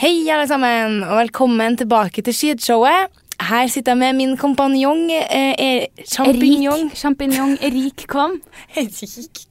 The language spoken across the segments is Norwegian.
Hei, alle sammen, og velkommen tilbake til Skidshowet. Her sitter jeg med min kompanjong eh, er- Champignon. Rik champignon. Rik kom. Erik.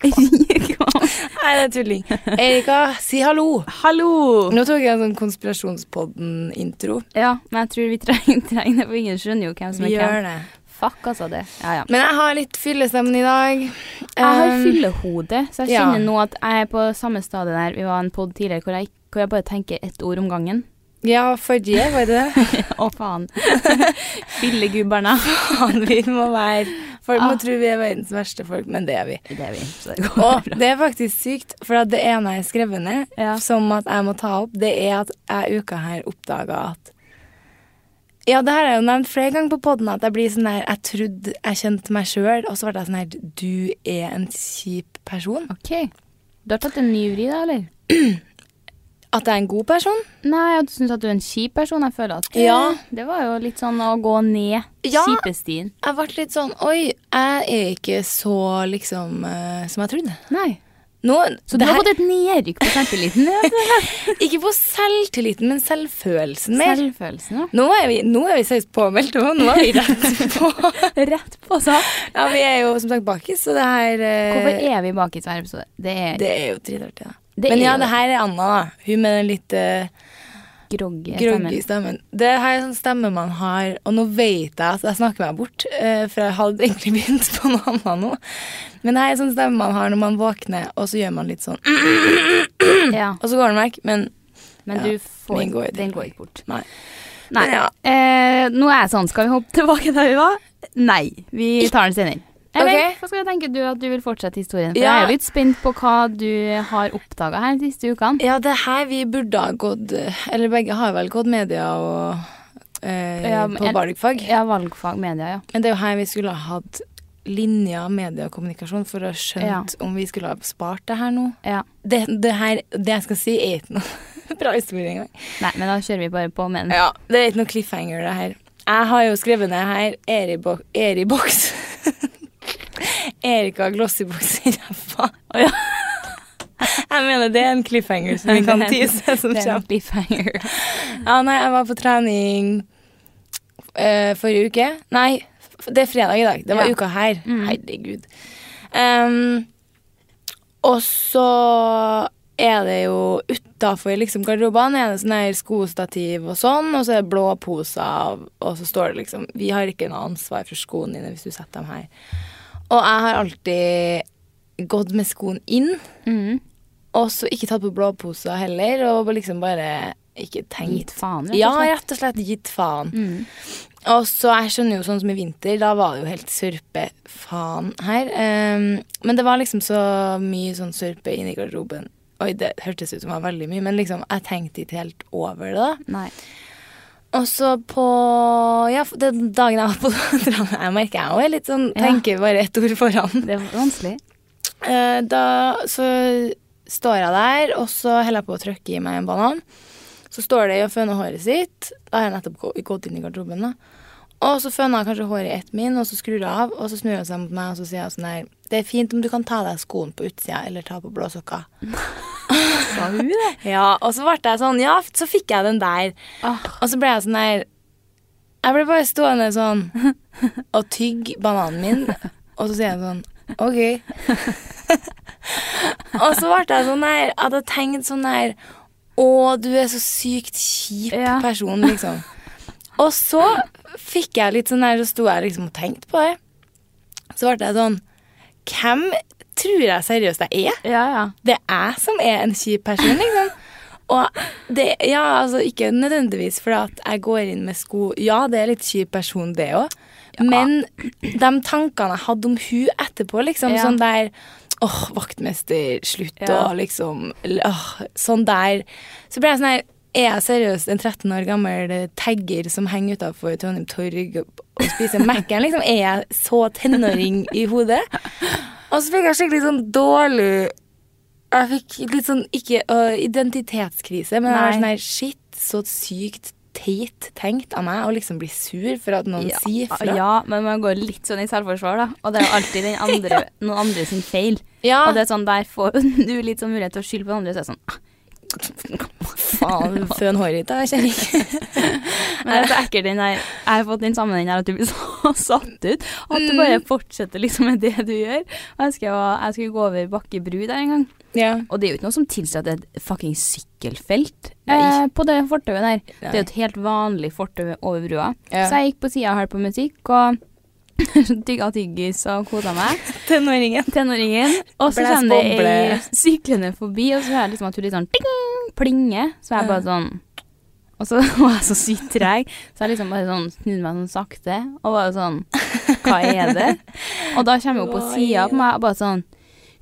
Rik kom. Nei, det er tulling. Erika, si hallo. Hallo! Nå tok jeg en sånn Konspirasjonspodden-intro. Ja, men jeg tror vi trenger, trenger det, for ingen skjønner jo hvem som Vi er gjør hvem. det. Fuck, altså, det. Ja, ja. Men jeg har litt fyllestemmen i dag. Jeg har Um, fyllehode, så jeg ja. kjenner nå at jeg er på samme stadie der vi var en pod tidligere, hvor jeg, hvor jeg bare tenker ett ord om gangen. Ja, forrige, var det det? Å, faen. Fyllegubberna. Faen, vi må være Folk må Ah. tro vi er verdens verste folk, men det er vi. Det er vi, så det går Og bra. det er faktisk sykt, for at det ene jeg har skrevet ned, Ja. som at jeg må ta opp, det er at jeg uka her oppdaga at Ja, det her har jeg jo nevnt flere ganger på poden, at jeg blir sånn her Jeg trodde jeg kjente meg sjøl, og så ble jeg sånn her Du er en kjip person. OK. Du har tatt en ny vri, da, eller? At jeg er en god person. Nei, og du syns at du er en kjip person. Jeg føler at Ja. Det var jo litt sånn å gå ned Ja. kjipestien. Jeg ble litt sånn Oi, jeg er ikke så liksom eh, som jeg trodde. Nei. Nå, Så du det har her- fått et nedrykk på selvtilliten? Ikke på selvtilliten, men selvfølelsen mer. Selvfølelsen, ja. Nå er vi, nå er vi seriøst påmeldt, og nå er vi rett på. Rett på sak. Ja, vi er jo som sagt bakis, så det her eh, Hvorfor er vi bak i hver episode? Det er Det er jo dritartig, da. Det Men er ja, jo det her er Anna, da. Hun med den litt eh, groggy groggy stemmen. stemmen. Det her er sånn stemme man har, og nå vet jeg at jeg snakker meg bort, eh, for jeg hadde egentlig begynt på noe annet nå. Men det her er sånn stemme man har når man våkner, og så gjør man litt sånn, Ja, og så går den vekk, men men Ja, du får min går jo Den til. går ikke bort. nei. Nei. Men ja. Eh, nå er jeg sånn, skal vi hoppe tilbake der vi var? Nei, vi tar den senere. Eller, Ok. hva skal jeg tenke du at du vil fortsette historien? For Ja. Jeg er jo litt spent på hva du har oppdaga her de siste ukene. Ja, det her vi burde ha gått, eller begge har vel gått media og eh, Ja, men- på valgfag. Ja, valgfag, media, ja. Men det er jo her vi skulle ha hatt linja medie og kommunikasjon for å ha skjønt om vi skulle ha spart det her nå. ja. Det, det her, det jeg skal si, er ikke noe bra historie engang. Nei, men da kjører vi bare på med den. Ja, det er ikke noe cliffhanger, det her. Jeg har jo skrevet ned her Eribox Eriboks. Erika Glossybox i ræva. Å, ja. Jeg mener det er en cliffhanger som vi kan tise som Det er kommer. en cliffhanger. Ja, nei, jeg var på trening eh, forrige uke. Nei, f- det er fredag i dag. Det var Ja. Mm. uka her. Herregud. Em, og så er det jo utafor liksom, garderobene er det sånn her skostativ og sånn, og så er det blå poser, og så står det liksom Vi har ikke noe ansvar for skoene dine hvis du setter dem her. Og jeg har alltid gått med skoen inn. Mm. Og så ikke tatt på blåposer heller, og liksom bare ikke tenkt. Gitt faen, rett og Ja, slett. Mm. rett og slett gitt faen. Og så jeg skjønner jo sånn som i vinter, da var det jo helt sørpefaen her. Ehm, men det var liksom så mye sånn sørpe inni garderoben. Oi, det hørtes ut som det var veldig mye, men liksom, jeg tenkte ikke helt over det da. Nei. Og så på Ja, for den dagen jeg var på Trondheim, jeg merker jeg òg er litt sånn Ja. Tenker bare ett ord foran. Det er vanskelig. Eh, da så står jeg der, og så holder jeg på å trykke i meg en banan. Så står det i og føner håret sitt. Da har jeg nettopp gå- gått inn i garderoben. da. Og så føner jeg kanskje håret i ett min, og så skrur jeg av. Og så snur hun seg mot meg og så sier hun sånn her Det er fint om du kan ta av deg skoen på utsida, eller ta på blå sokker. Sa hun det? Ja, og så ble jeg sånn, ja, så fikk jeg den der. Og så ble jeg sånn der Jeg ble bare stående sånn og tygge bananen min, og så sier jeg sånn OK. og så ble jeg sånn der at jeg tenkte sånn der Å, du er så sykt kjip Ja. person, liksom. Og så fikk jeg litt sånn der, så sto jeg liksom og tenkte på det. Så ble jeg sånn Hvem tror jeg seriøst jeg er? Ja, ja. det er jeg som er en kjip person, liksom. Og det, ja, altså ikke nødvendigvis fordi at jeg går inn med sko Ja, det er litt kjip person, det òg. Men de tankene jeg hadde om hun etterpå, liksom, Ja. sånn der Åh, vaktmester, slutt Ja. og liksom l- åh, Sånn der. Så ble jeg sånn her Er jeg seriøst en 13 år gammel eh, tagger som henger utafor Trondheim Torg og og spiser Mac-en, liksom? Er jeg så tenåring i hodet? Og så fikk jeg skikkelig sånn dårlig jeg fikk litt sånn, ikke øh, identitetskrise, men jeg var Nei. sånn her, shit, så sykt teit tenkt av meg å liksom bli sur for at noen sier fra. ja, men man går litt sånn i selvforsvar, da. Og det er jo alltid den andre, noen andre sin feil. Ja. Og det er sånn, der får du litt sånn mulighet til å skylde på den andre, så er «Ah, det sånn ah, Faen, sånn føn håret ditt da, kjenning. Men det er så ekkelt den der Jeg har fått den sammen den der at du blir så satt ut. Og at du bare fortsetter liksom med det du gjør. Og jeg, skal, jeg skulle gå over Bakke bru der en gang. ja. Og det er jo ikke noe som tilsier at det er et fucking sykkelfelt. Eh, på det fortauet der. Nei. Det er jo et helt vanlig fortau over brua. Ja. Så jeg gikk på sida og hørte på musikk og tygga tyggis og kosa meg. Tenåringen. Tenåringen. Og så Blæs kommer det ei boble. syklende forbi, og så hører jeg liksom at hun litt sånn ding, plinge. Så jeg bare sånn Og så var jeg så sykt treg, så jeg liksom bare sånn snudde meg sånn sakte og bare sånn Hva er det? Og da kommer hun på Hva sida er på meg og bare sånn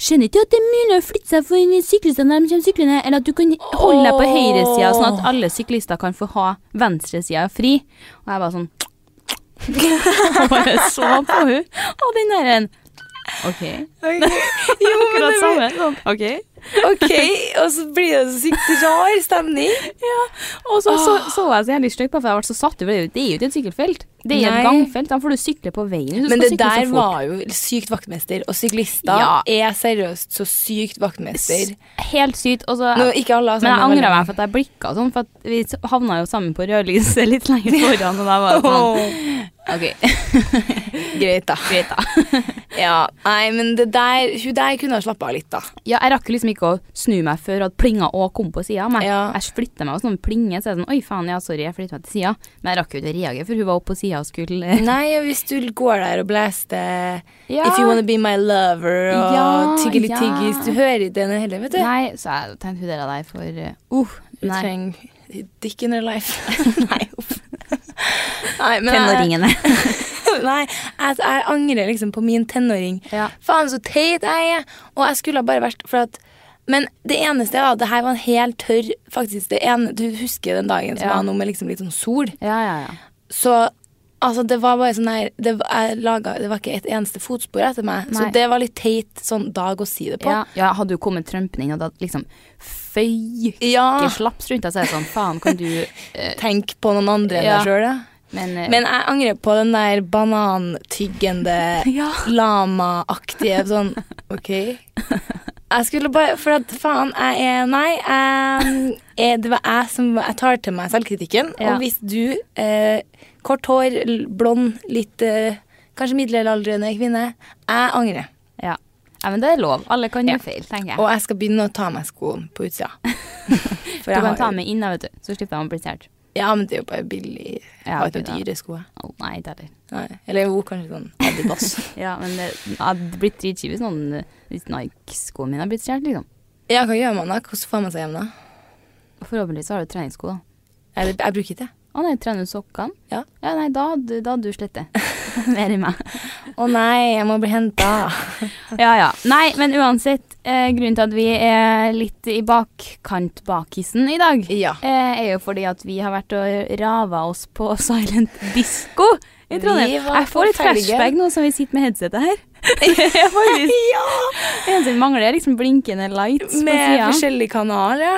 Skjønner ikke at det er mulig å flytte seg for syklistene når de kommer syklende, eller at du kan holde deg på høyresida, sånn at alle syklister kan få ha venstresida fri. Og jeg bare sånn Og bare så på hun Og den der en OK. Jo, men Akkurat det blir- samme. Sånn. OK. Ok, og så blir det så sykt rar stemning. Ja, og så så, så jeg så jævlig stygt på, for jeg ble så satt ut. for Det er jo- det er jo ikke et sykkelfelt. Det er jo Nei. et gangfelt. Da får du sykle på veien. Du Men skal det sykle så der fort. var jo sykt vaktmester, og syklister Ja. er seriøst så sykt vaktmester. Helt sykt. Og så Nå, ikke alle har Men jeg samme angra veldig. meg for at jeg blikka sånn, for at vi s- havna jo sammen på rødlyset litt lenger foran, og da var det sånn OK, Greit, da. greit, da. Ja, nei, men det der, hun der kunne ha slappa av litt, da. Ja, jeg rakk liksom ikke å snu meg før at plinga òg kom på sida av meg. Ja. Jeg flytta meg, og sånn plinge, så er det sånn Oi, faen, ja, sorry, jeg flytta meg til sida. Men jeg rakk jo ikke å reagere, for hun var oppe på sida og skulle Nei, og hvis du går der og blæster Ja. If you wanna be my lover og Ja, tyggeli ja. tyggis Du hører ikke den heller, vet du. Nei, så jeg tenkte hun der av deg for eh, Uh, Du nei. trenger dick in your life. nei, uff. Nei, men jeg, Tenåringene. nei jeg, jeg angrer liksom på min tenåring. Ja. Faen, så teit jeg er! Og jeg skulle ha bare vært for at men det eneste var at det her var en helt tørr faktisk det ene, Du husker den dagen som Ja. var noe med liksom litt sånn sol? Ja, ja, ja. Så altså, det var bare sånn her det, var- jeg laget, det var ikke et eneste fotspor etter meg. Nei. Så det var litt teit sånn dag å si det på. ja. ja hadde jo kommet Trumpen inn og da liksom føyke Ja, slaps rundt deg, så er det sånn faen, kan du Tenk på noen andre enn Ja. deg sjøl, ja. Men, eh, Men jeg angrer på den der banantyggende, Ja. lama-aktige sånn OK. Jeg skulle bare For at faen, jeg er Nei, jeg, jeg, det var jeg som Jeg tar til meg selvkritikken. Ja. Og hvis du, eh, kort hår, l- blond, litt eh, Kanskje middelaldrende kvinne. Jeg angrer. ja. ja, men det er lov. Alle kan Ja. gjøre feil, tenker jeg. Og jeg skal begynne å ta av meg skoen på utsida. For du jeg kan har, ta med inn, da, vet du, så slipper de å bli stjålet. Ja, men det er jo bare billig. Jeg Ja, har ikke ok, noen da. dyre sko. jeg. Å, nei, det er det. Nei. Eller jo, kanskje sånn Adidas. Ja, men det jeg hadde blitt dritkjipt hvis noen eh, Hvis Nike-skoene mine hadde blitt stjålet, liksom. ja, hva gjør man da? Hvordan får man seg hjem da? Forhåpentligvis har du treningssko, da. Jeg, jeg bruker ikke det. Å nei, trener du sokkene? Ja. Ja, nei, da hadde da hadde du slettet. Mer enn meg. Å nei, jeg må bli henta. Ja, ja. Nei, men uansett, eh, grunnen til at vi er litt i bakkant bakisen i dag, Ja. eh, er jo fordi at vi har vært og rava oss på silent disco i Trondheim. Vi var Jeg får på litt flashback felgen. nå som vi sitter med headsetet her. er faktisk ja! Det eneste vi mangler, er liksom blinkende lights Med på sida. forskjellig kanal, ja.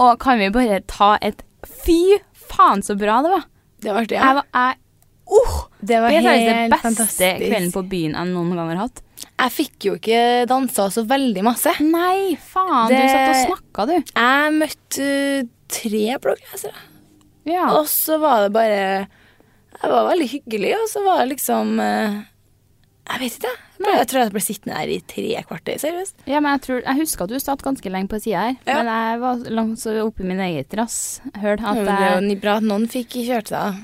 Og kan vi bare ta et Fy faen, så bra det var! Det var artig. Jeg var, jeg, oh, Uh, Det var det er faktisk den helt beste fantastisk. kvelden på byen jeg noen gang har hatt. Jeg fikk jo ikke dansa så veldig masse. Nei, faen! Det- Du satt og snakka, du. Jeg møtte uh, tre blogglesere, Ja. og så var det bare Jeg var veldig hyggelig, og så var det liksom eh, Jeg vet ikke, jeg. Jeg ble- Jeg tror jeg ble sittende her i tre kvarter, seriøst. Ja, men jeg, tror, jeg husker at du satt ganske lenge på sida her, Ja. men jeg var langt så oppe i min eget rass. Hørte Ja, at men det er jeg jo ni- bra at noen fikk kjørt seg.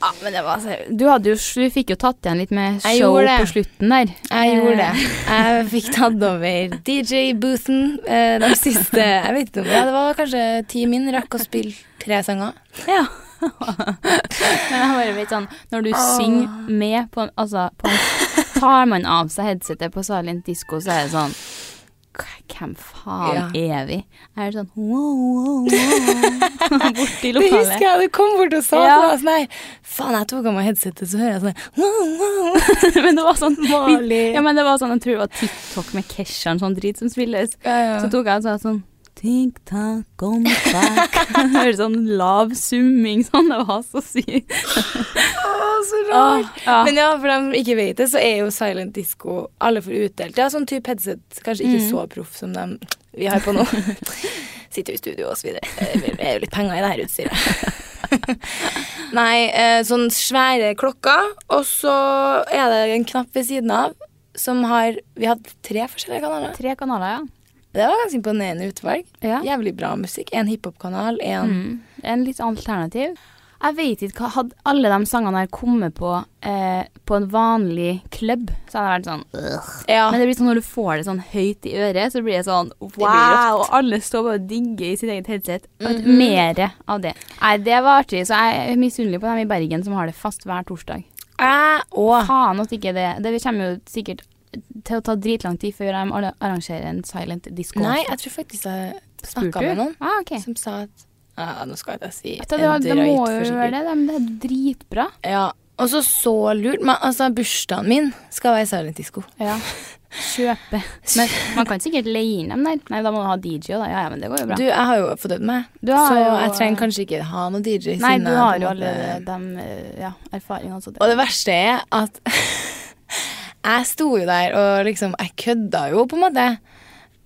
ja, men det var, så- du, hadde jo, du fikk jo tatt igjen litt med Jeg show gjorde det. på slutten der. Jeg gjorde det. Eh, Jeg fikk tatt over DJ-boothen eh, de siste Jeg vet ikke om ja, Det var kanskje ti min rakk å spille tre sanger. Ja. Men jeg bare vet sånn Når du synger med på en, altså, på en Tar man av seg headsetet på silent disco, så er det sånn k- Hvem faen er vi? Jeg er sånn wow, wow, wow. Borti Det husker lokalet. jeg, du kom bort og sa Ja. til meg sånn her Faen, jeg tok av meg headsetet, så hører jeg sånn her, wow, wow. men det var sånn vi, Mali. ja, men det var sånn, Jeg tror det var TikTok med Kesha og sånn drit som spilles. Ja, ja. Så tok jeg og sa sånn TikTok, come back. Hører sånn lav summing sånn. Det var så sykt. Å, så Åh, rart. ja. Men ja, for dem som ikke vet det, så er jo silent disco alle får utdelt. Ja, sånn type headset. Kanskje ikke så proff som dem vi har på nå. Sitter jo i studio og så videre. Eh, vi- Det er jo litt penger i det her utstyret. Nei, eh, sånn svære klokker, og så er det en knapp ved siden av som har Vi hadde tre forskjellige kanaler. Tre kanaler, ja. Det var ganske imponerende utvalg. Ja. Mm. Jævlig bra musikk. En hiphop-kanal, en En litt alternativ. Jeg vet ikke hva Hadde alle de sangene her kommet på eh, på en vanlig klubb, så hadde jeg vært sånn «Ugh». Ja. Men det blir sånn når du får det sånn høyt i øret, så blir det sånn wow, rått. Mm-hmm. og alle står bare og digger i sitt eget headset. Mm Mere av det. Nei, det var artig, så jeg er misunnelig på dem i Bergen som har det fast hver torsdag. Jeg og Faen at ikke det Det kommer jo sikkert til å ta dritlang tid før de alle arrangerer en silent disco. Nei, jeg tror faktisk jeg snakka med noen. Ah, ok. som sa at ja, Nå skal jeg ikke si Det, det, det en drøyt må jo forsiktig- være det. men Det er dritbra. Ja. Og så så lurt. Men altså, bursdagen min skal være silent disco. Ja. Kjøpe. Men man kan sikkert leie inn dem der. Nei, da må du ha DJ, da. Ja, ja, men det går jo bra. Du, jeg har jo fordømt meg, Du har så jo- jeg trenger kanskje ikke ha noen DJ. Nei, siden du jeg på har en jo måte- alle de eh, ja, erfaringene. Så det. Og det verste er at jeg sto jo der og liksom Jeg kødda jo, på en måte.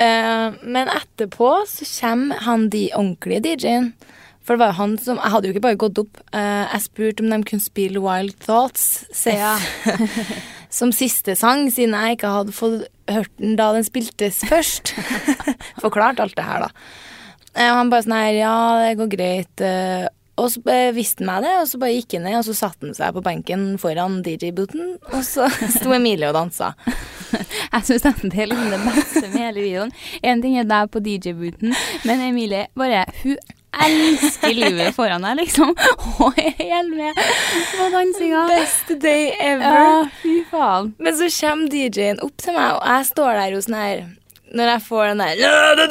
Eh, men etterpå så kommer han de ordentlige DJ-en. For det var jo han som Jeg hadde jo ikke bare gått opp. Eh, jeg spurte om de kunne spille Wild Thoughts, Seff, som siste sang, siden jeg ikke hadde fått hørt den da den spiltes først. Forklart alt det her, da. Eh, Og han bare sånn her, ja, det går greit. eh, Og så eh, visste han meg det, og så bare gikk han ned, og så satte han seg på benken foran DJ-booten, og så sto Emilie og dansa. Jeg syns det er liksom det beste med hele videoen. En ting er deg på DJ-booten, men Emilie bare Hun elsker livet foran deg, liksom. Og er helt med på dansinga. Best day Ja, fy faen. Men så kommer DJ-en opp til meg, og jeg står der jo sånn her Når jeg får den der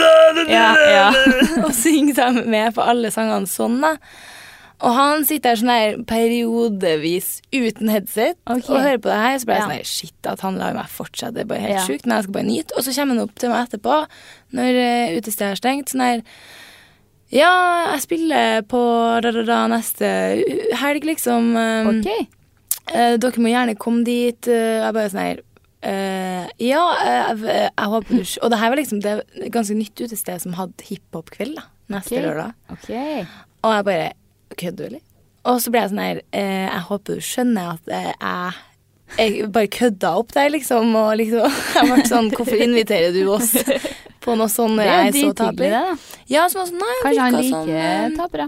Ja, ja. og synger sammen med på alle sangene sånn, da. Og han sitter her sånn her periodevis uten headset Ok. og hører på det her. Så ble jeg Ja. sånn her Shit, at han lar meg fortsette. Det er bare helt Ja. sjukt. Men jeg skal bare nyte. Og så kommer han opp til meg etterpå, når eh, utestedet er stengt, sånn her Ja, jeg spiller på da-da-da neste u- helg, liksom. Um, OK. Eh, dere må gjerne komme dit. eh, jeg bare sånn her eh, Ja, eh, jeg- eh, jeg håper du Og det her var liksom det ganske nytt utested som hadde hiphop-kveld da neste Ok. lørdag. ok. Og jeg bare Kødder du, eller? Og så ble jeg sånn her eh, Jeg håper du skjønner at eh, jeg jeg bare kødda opp der, liksom. Og liksom, jeg ble sånn Hvorfor inviterer du oss på noe sånn når Det er jeg er jo så drithyggelig, det, da. taper? Ja, så var jeg sånn, nei, Kanskje han virka liker eh, tapere.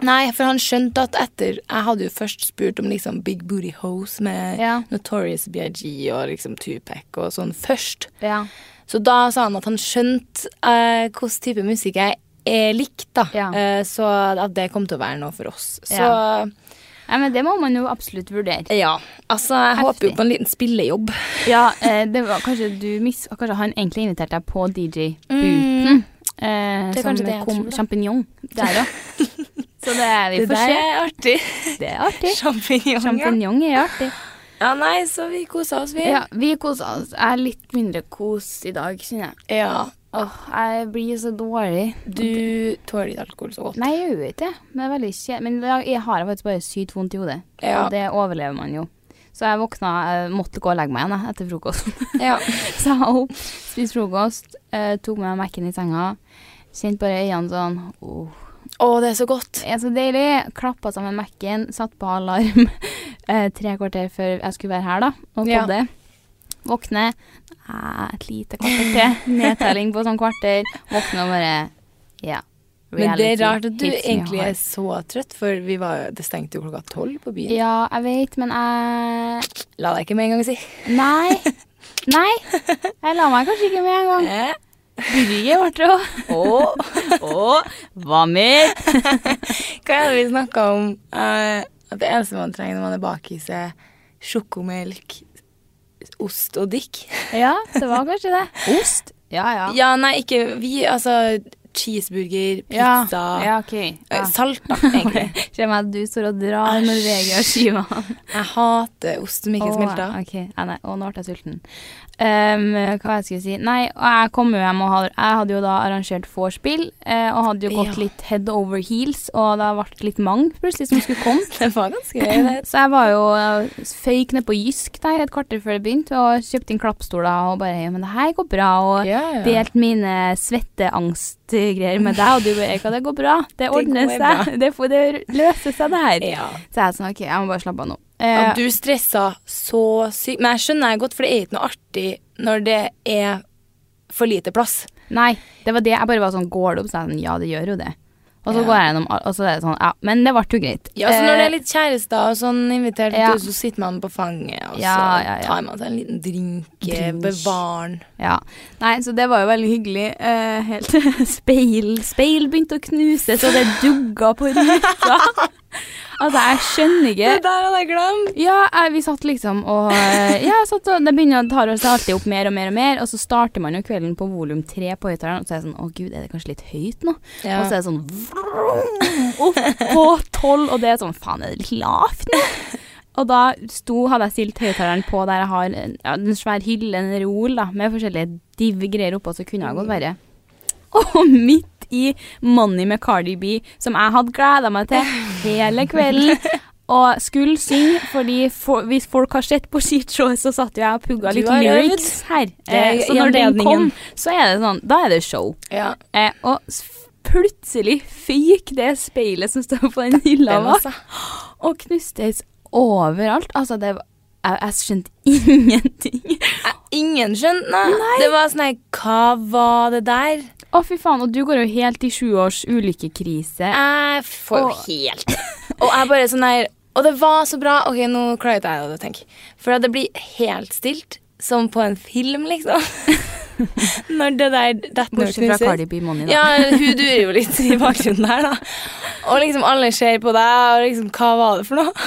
Nei, for han skjønte at etter Jeg hadde jo først spurt om liksom Big Booty Hose med Ja. Notorious BIG og liksom Tupac og sånn først. Ja. Så da sa han at han skjønte eh, hvilken type musikk jeg er likt, da. Ja. Eh, så at det kom til å være noe for oss. Så Ja. ja, Nei, men det må man jo absolutt vurdere. altså jeg håper jo på en liten spillejobb. Ja, eh, det var kanskje du mis... Kanskje han egentlig inviterte deg på Mm. DJ-booten. Eh, Det er som kanskje det jeg kom tror, da. champignon der òg. Så det er vi Det får der se. er artig. Det er artig. Sjampinjong, ja. Champignon er artig. Ja, nei, så vi kosa oss, vi. Ja, vi kosa oss. Jeg er litt mindre kos i dag, kjenner jeg. Ja, Åh, jeg blir så dårlig. Du tåler ikke alkohol så godt. Nei, jeg gjør ikke det. Men det er veldig kjedelig. Men i dag jeg har jeg faktisk bare sykt vondt i hodet. Ja. Og det overlever man jo. Så jeg våkna, jeg måtte gå og legge meg igjen jeg, etter frokosten. Ja. så jeg var opp, spiste frokost, eh, tok med meg Mac-en i senga. Kjente bare øynene sånn åh, Å, det er så godt. Det er så deilig. Klappa sammen Mac-en, satt på alarm eh, tre kvarter før jeg skulle være her, da, og Ja. podde. Våkne eh, Et lite kvarter til. Nedtelling på sånn kvarter. Våkne og bare Ja. Men det er reality rart at du hits me egentlig hard. er så trøtt, for vi var, det stengte jo klokka tolv på byen. Ja, jeg vet, men jeg La deg ikke med en gang si. Nei. Nei. Jeg la meg kanskje ikke med en gang. Eh, Burger ble det òg. Å, å, hva mer? Hva er det vi snakka om? Eh, at det eneste man trenger når man er bakis, er sjokomelk, ost og drikk. Ja, det var kanskje det. Ost? Ja, ja. Ja, nei, ikke vi. Altså cheeseburger, Ja, pizza ja, ok. eh, Ja. Salt, da, egentlig. Kjenner at du står og drar med Vegard-skiva. Jeg hater ost som ikke smelter. Ok, ja, nei, å, nå ble jeg sulten. Um, hva jeg skulle si? Nei, og jeg kom jo hjem og hadde, jeg hadde jo da arrangert vorspiel, eh, og hadde jo gått Ja. litt head over heels, og det ble litt mange plutselig som skulle komme. Det var ganske gøy, det. Så jeg var jo eh, føyk ned på Jysk der et kvarter før det begynte, og kjøpte inn klappstoler og bare ja, men det her går bra, og Ja, ja. delte mine svetteangstgreier med deg, og du bare ja, det går bra, det ordner går seg, bra.» det, får, det løser seg det her. Ja. Så jeg er sånn, ok, jeg må bare slappe av nå. Ja, Eh, du stressa så sykt. Men jeg skjønner jeg godt, for det er ikke noe artig når det er for lite plass. Nei, det var det, jeg bare var sånn, går det opp? Så er jeg sånn, ja, det gjør jo det. Og så Ja. går jeg gjennom, al- og så er det sånn, ja, men det ble jo greit. Ja, så Når det Eh, er litt kjærester og sånn invitert, Ja. du, så sitter man på fanget, og Ja, så ja, ja. tar man seg en liten drink, eh, bevaren. Ja. Nei, så det var jo veldig hyggelig. Eh, helt speil, speil begynte å knuses, og det dugga på ruta. altså, jeg skjønner Det ikke. der hadde jeg glemt! Ja, jeg, vi satt liksom og eh, Ja, jeg satt og Det begynner å ta seg alltid opp mer og mer og mer, og så starter man jo kvelden på volum tre på høyttaleren, og så er jeg sånn Å, gud, er det kanskje litt høyt nå? Ja. Og så er det sånn vroom, opp på tolv, og det er sånn Faen, er det litt lavt nå? Og da sto, hadde jeg stilt høyttaleren på der jeg har en, ja, en svær hylle, en reol, da, med forskjellige div-greier oppå, så kunne jeg godt være Og midt i Money med Cardi B, som jeg hadde gleda meg til hele kvelden. Og skulle synge, fordi for, hvis folk har sett på skishowet, så satt jo jeg og pugga Du litt har øvd. lyrics her. er Eh, så når den kom, anledningen. så er det sånn Da er det show. Ja. Eh, og s- plutselig fyk det speilet som står på den hylla Den, bak, altså. og knustes overalt. Altså, det var Jeg, jeg skjønte ingenting. Jeg, Eh, ingen skjønte nei. Det var sånn her Hva var det der? Å, fy faen. Og du går jo helt i sju års ulykkekrise. Jeg får jo Og- helt Og jeg bare sånn her Og det var så bra. Ok, nå klarer ikke jeg det, tenk. For at det blir helt stilt, som på en film, liksom. Når det der detter ned og Bortsett fra knuses. Cardi B Money, da. Ja, hun durer jo litt i bakgrunnen der, da. Og liksom alle ser på deg, og liksom Hva var det for noe?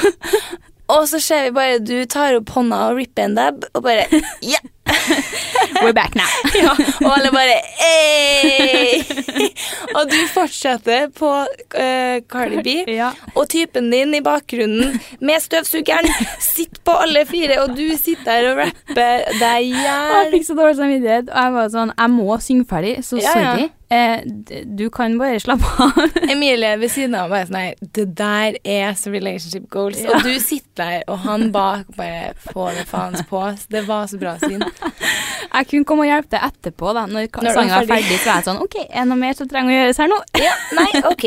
Og så ser vi bare du tar opp hånda og ripper en dab, og bare Ja! We're back now. Ja, og alle bare «Ey!» Og du fortsetter på eh, Cardi B, Ja. og typen din i bakgrunnen med støvsugeren sitter på alle fire, og du sitter der og rapper deg i Og jeg hjel. fikk så dårlig samvittighet, og jeg var sånn Jeg må synge ferdig, så Ja, ja. sorry. Eh, d- du kan bare slappe av. Emilie ved siden av meg er sånn her Det der er så relationship goals. Og du sitter der, og han bak bare får det faens på. Det var så bra syn. Jeg kunne komme og hjelpe deg etterpå, da. Når, Når du er sangen var ferdig. ferdig, så er jeg sånn OK, er det noe mer som trenger å gjøres her nå? Ja, nei, OK.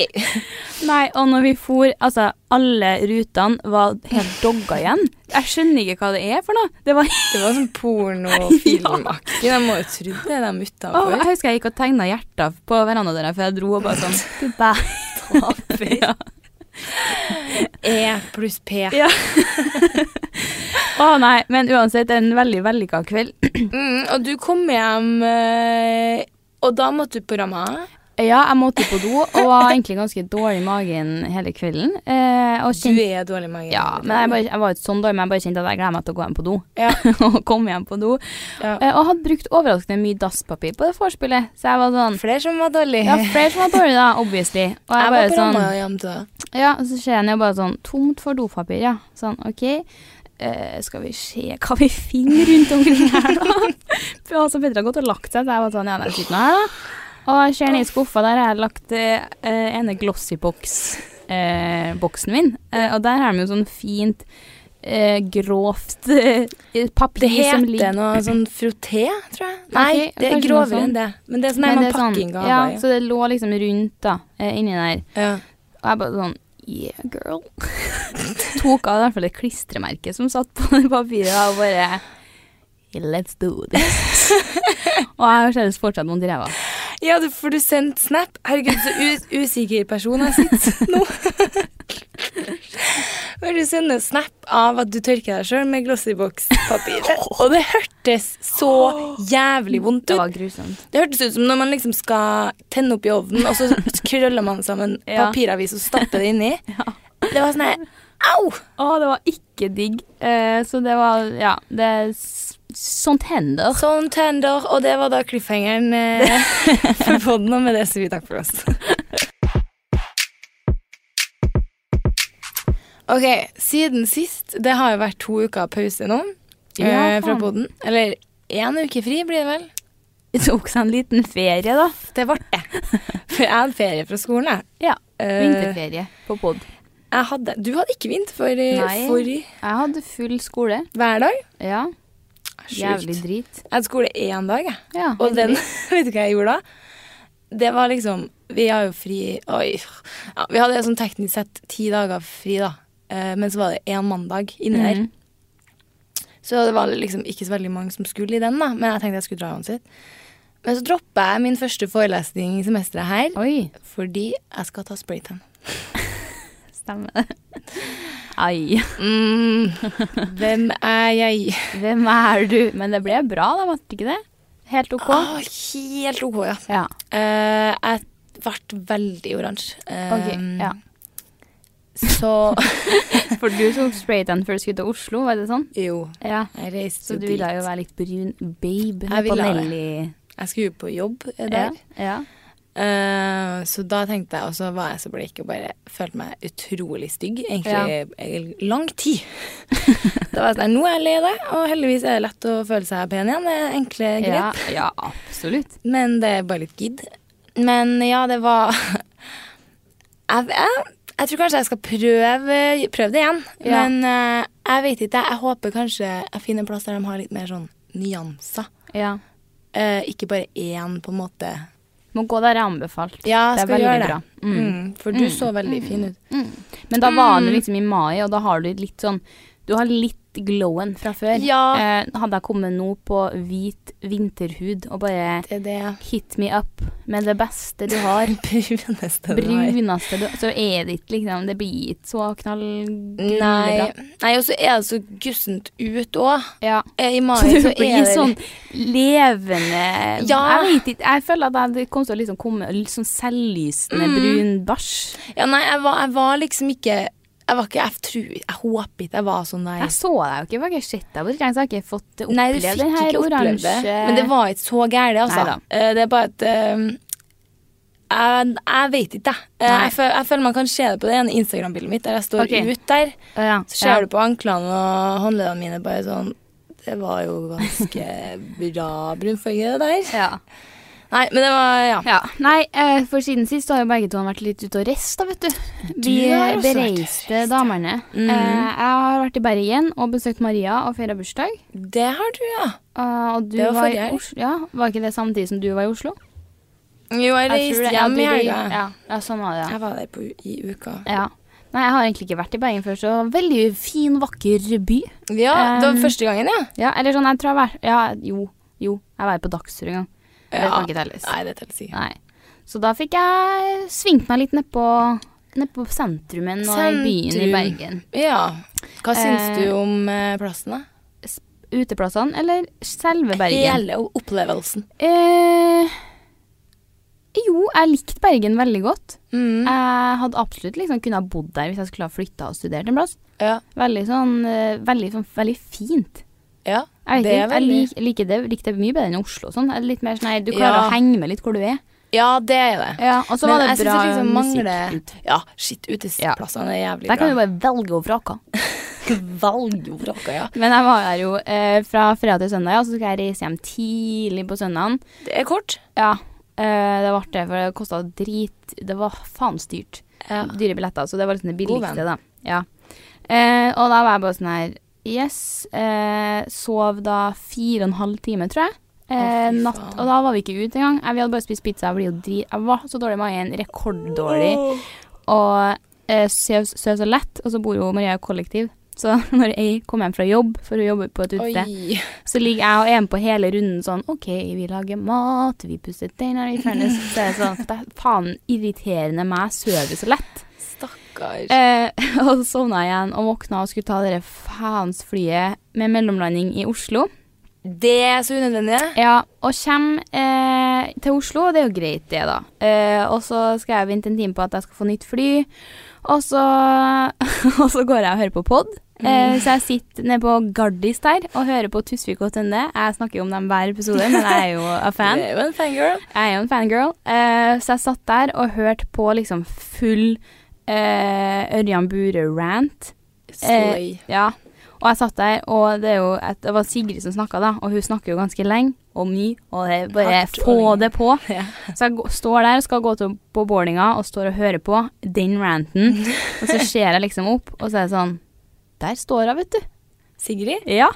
Nei, og når vi for, altså alle rutene var helt dogga igjen. Jeg skjønner ikke hva det er for noe. Det var Det var sånn pornofilmaktig. De må jo tro det, er de Åh, utafor. Jeg husker jeg gikk og tegna hjerter på verandadøra før jeg dro, og bare sånn Du bæ- ja. E pluss P. Ja. Å nei, men uansett, det er en veldig vellykka kveld. Mm, og du kom hjem, eh, og da måtte du på ramma. Ja, jeg måtte på do og var egentlig ganske dårlig i magen hele kvelden. Eh, og Du kjente er dårlig i magen. ja, men jeg, bare, jeg var ikke sånn dårlig, men jeg bare kjente at jeg gleder meg til å gå hjem på do. Ja. og kom hjem på do. Ja. Eh, og hadde brukt overraskende mye dasspapir på det vorspielet, så jeg var sånn Flere som var dårlig. Ja, flere som var dårlige, da, obviously. Og jeg, jeg bare var på sånn ramma hjem til deg. Ja, så ser jeg ned og bare sånn Tomt for dopapir, ja. Sånn, OK. Eh, skal vi se hva vi finner rundt omkring her, da? For altså, Petter har gått og lagt seg, så jeg var sånn, ja, den sitter nå her, da. Og jeg ser ned i skuffa, der har jeg lagt eh, eh, ene Glossybox-boksen min. Eh, og der har de jo sånn fint, eh, grovt eh, papir Det som heter ligger noe sånn frotté, tror jeg. Nei, Ok, det er kanskje noe grovere sånn. enn det. Men det er sånn Men her det man er sånn- pakker inn Ja, gaver. så det lå liksom rundt, da, eh, inni der. Ja. Og jeg bare sånn Yeah, girl. Tok av i hvert fall det klistremerket som satt på det papiret, og bare Let's do this. og jeg har seriøst fortsatt vondt i ræva. Ja, ja du, for du sendte snap. Herregud, så us usikker person jeg sitter nå. Når du sender snap av at du tørker deg sjøl med Glossybox-papir. Og det hørtes så jævlig vondt Det ut. var grusomt. Det hørtes ut som når man liksom skal tenne opp i ovnen, og så krøller man sammen Ja. papiravis og stapper det inni. Det var sånn her Au! Å, det var ikke digg. Eh, så det var Ja, det er s- Sånt hender. Sånn tender, og det var da cliffhangeren eh, for podden, og med det sier vi takk for oss. Ok, siden sist, det har jo vært to uker pause nå eh, Ja, fra faen. podden. Eller én uke fri blir det vel? Det tok seg en liten ferie, da. Det ble det. For jeg hadde ferie fra skolen, jeg. Ja. Eh, Vinterferie på pod. jeg hadde, du hadde ikke vinter for, Nei. for eh, Jeg hadde full skole. hver dag. Ja. Jævlig Sjukt. drit. Jeg hadde skole én dag, jeg. Ja, Og helt den, drit. vet du hva jeg gjorde da? Det var liksom Vi har jo fri Oi. Ja, vi hadde sånn teknisk sett ti dager fri, da. Eh, men så var det én mandag inni Mhm. der. Så det var liksom ikke så veldig mange som skulle i den, da. Men jeg tenkte jeg skulle dra uansett. Men så droppa jeg min første forelesning i semesteret her Oi. fordi jeg skal ta spraytan. Stemmer det. Ai. Mm, hvem er jeg? Hvem er du? Men det ble bra, da, var det ikke det? Helt OK? Å, helt OK, ja. Ja. Eh, jeg ble veldig oransje. Eh, Ok, ja. Så For du tok spraytan før du skulle til Oslo, var det sånn? Jo, Ja. jeg reiste Så jo du dit. ville jo være litt brun babe. Jeg ville det. Nelly. Jeg skulle jo på jobb eh, Ja. der. ja. Eh, så da tenkte jeg, og så var jeg så blek og bare følte meg utrolig stygg, egentlig i lang tid. da var jeg sånn, her, nå er jeg lei deg, og heldigvis er det lett å føle seg pen igjen. Det er enkle grep. Ja, ja, absolutt. Men det er bare litt gidd. Men ja, det var jeg, jeg, jeg tror kanskje jeg skal prøve, prøve det igjen. Ja. Men eh, jeg vet ikke. Jeg håper kanskje jeg finner en plass der de har litt mer sånn nyanser. Ja. Eh, ikke bare én, på en måte. Må gå der jeg er anbefalt. Ja, det er skal veldig gjøre det. bra. Mm. Mm. for du så veldig fin ut. Men da var det liksom i mai, og da har du litt sånn Du har litt glowen fra før. Ja. Eh, hadde jeg kommet nå på hvit vinterhud og bare Det er det Hit me up med det beste du har. bruneste du har. Bruneste du Så er det ikke liksom Det blir ikke så knall... Nei. Nei, og så er det så gussent ut òg. Ja. I Så mai du så er blir det sånn levende Ja. Jeg vet ikke. Jeg føler at jeg- det kom til å liksom komme litt sånn selvlysende brun bæsj. Ja, nei, Mm. jeg var, jeg var liksom ikke Jeg var ikke, jeg tror Jeg håper ikke jeg var sånn der Jeg så deg jo ikke, jeg har ikke sett deg på trening, så jeg har ikke fått oppleve Nei, du fikk den her ikke oppleve det oransje- Men det var ikke så gærent, altså Neida. Eh, Det er bare at eh, jeg, jeg vet ikke, jeg. Eh, Nei. jeg, føl, jeg føler man kan se det på det ene Instagram-bildet mitt der jeg står Ok. ut der. ja, Så ser ja. du på anklene og håndleddene mine bare sånn Det var jo ganske bra brunfarge, det der. ja. Nei, men det var Ja. Ja, nei, eh, for siden sist har jo begge to vært litt ute og reist, da, vet du. Vi Du har også vært ute og bereiste reist. damene. Mhm. Eh, jeg har vært i Bergen og besøkt Maria og feira bursdag. Det har du, ja. Eh, og du Det var var, forrige i helg. Oslo. Ja, var ikke det samtidig som du var i Oslo? Jo, jeg tror reiste det- hjem du i rei- helga. Ja, ja, sånn var det, ja. Jeg var der på, i uka. ja. Nei, jeg har egentlig ikke vært i Bergen før, så veldig fin, vakker by. Ja, det var Um, første gangen, ja. Ja, eller sånn, jeg tror jeg har vært Ja, jo, jo, jeg var på Dagsrevyen en gang. Det Ja. kan ikke telles. Nei, det teller sikkert. Nei. Så da fikk jeg svingt meg litt nedpå ned på sentrumen og i byen i Sentrum. Bergen. Ja. Hva syns Eh, du om eh, plassen, da? uteplassene eller selve Bergen? Hele opplevelsen. Eh, jo, jeg likte Bergen veldig godt. Mm. Jeg hadde absolutt liksom kunnet ha bodd der hvis jeg skulle ha flytta og studert en plass. Ja. Veldig sånn, eh, veldig, sånn veldig fint. ja. Jeg, vet Det er ikke, jeg veldig- lik, liker det, likte det mye bedre enn Oslo. og Sånn. Jeg er Litt mer sånn, nei, du klarer Ja. å henge med litt hvor du er. Ja, det er det. Ja, og så var det jeg synes bra liksom musikk. mangler- ut. Ja, shit, uteplassene er jævlig bra. Der kan du bare velge og vrake. Kvaljoraka, ja. Men jeg var her jo eh, fra fredag til søndag, og så skal jeg reise hjem tidlig på søndagen. Det er kort. Ja, eh, det var artig, for det kosta drit Det var faen styrt. Ja. Dyre billetter, så det var liksom det God billigste, venn. da. Ja. Eh, og da var jeg bare sånn her Yes. Eh, sov da fire og en halv time, tror jeg. Eh, Å, fy natt, faen. og da var vi ikke ute engang. Jeg- Vi hadde bare spist pizza. Jeg, blir jo dri jeg var så dårlig i magen. Rekorddårlig. Og eh, søv søv så lett. Og så bor jo Maria i kollektiv. Så når jeg kom hjem fra jobb, for hun jobber på et utested Oi. så ligger jeg og er med på hele runden sånn OK, vi lager mat, vi pusser tenner i fjernes Så er det sånn Det er faen irriterende meg, sover så lett. Stakkar. Eh, og så sovna jeg igjen og våkna og skulle ta det der faens flyet med mellomlanding i Oslo. Det er så unødvendig. Ja, og kommer eh, til Oslo, og det er jo greit det, da. Eh, og så skal jeg vente en time på at jeg skal få nytt fly, og så, og så går jeg og hører på pod. Eh, så jeg sitter nede på Gardis der og hører på Tusvik og Tønde. Jeg snakker jo om dem hver episode, men jeg er jo a fan. Det er jo en fangirl. Jeg er jo en fangirl, eh, så jeg satt der og hørte på liksom full eh, Ørjan Bure-rant. Slay. Ja. Og jeg satt der, og det, er jo et, det var Sigrid som snakka, da, og hun snakker jo ganske lenge og mye, og det er bare Hardt og få lenge. det på. Ja. Så jeg gå- står der og skal gå til, på boardinga og står og hører på den ranten, og så ser jeg liksom opp, og så er det sånn Der står hun, vet du. Sigrid? Ja.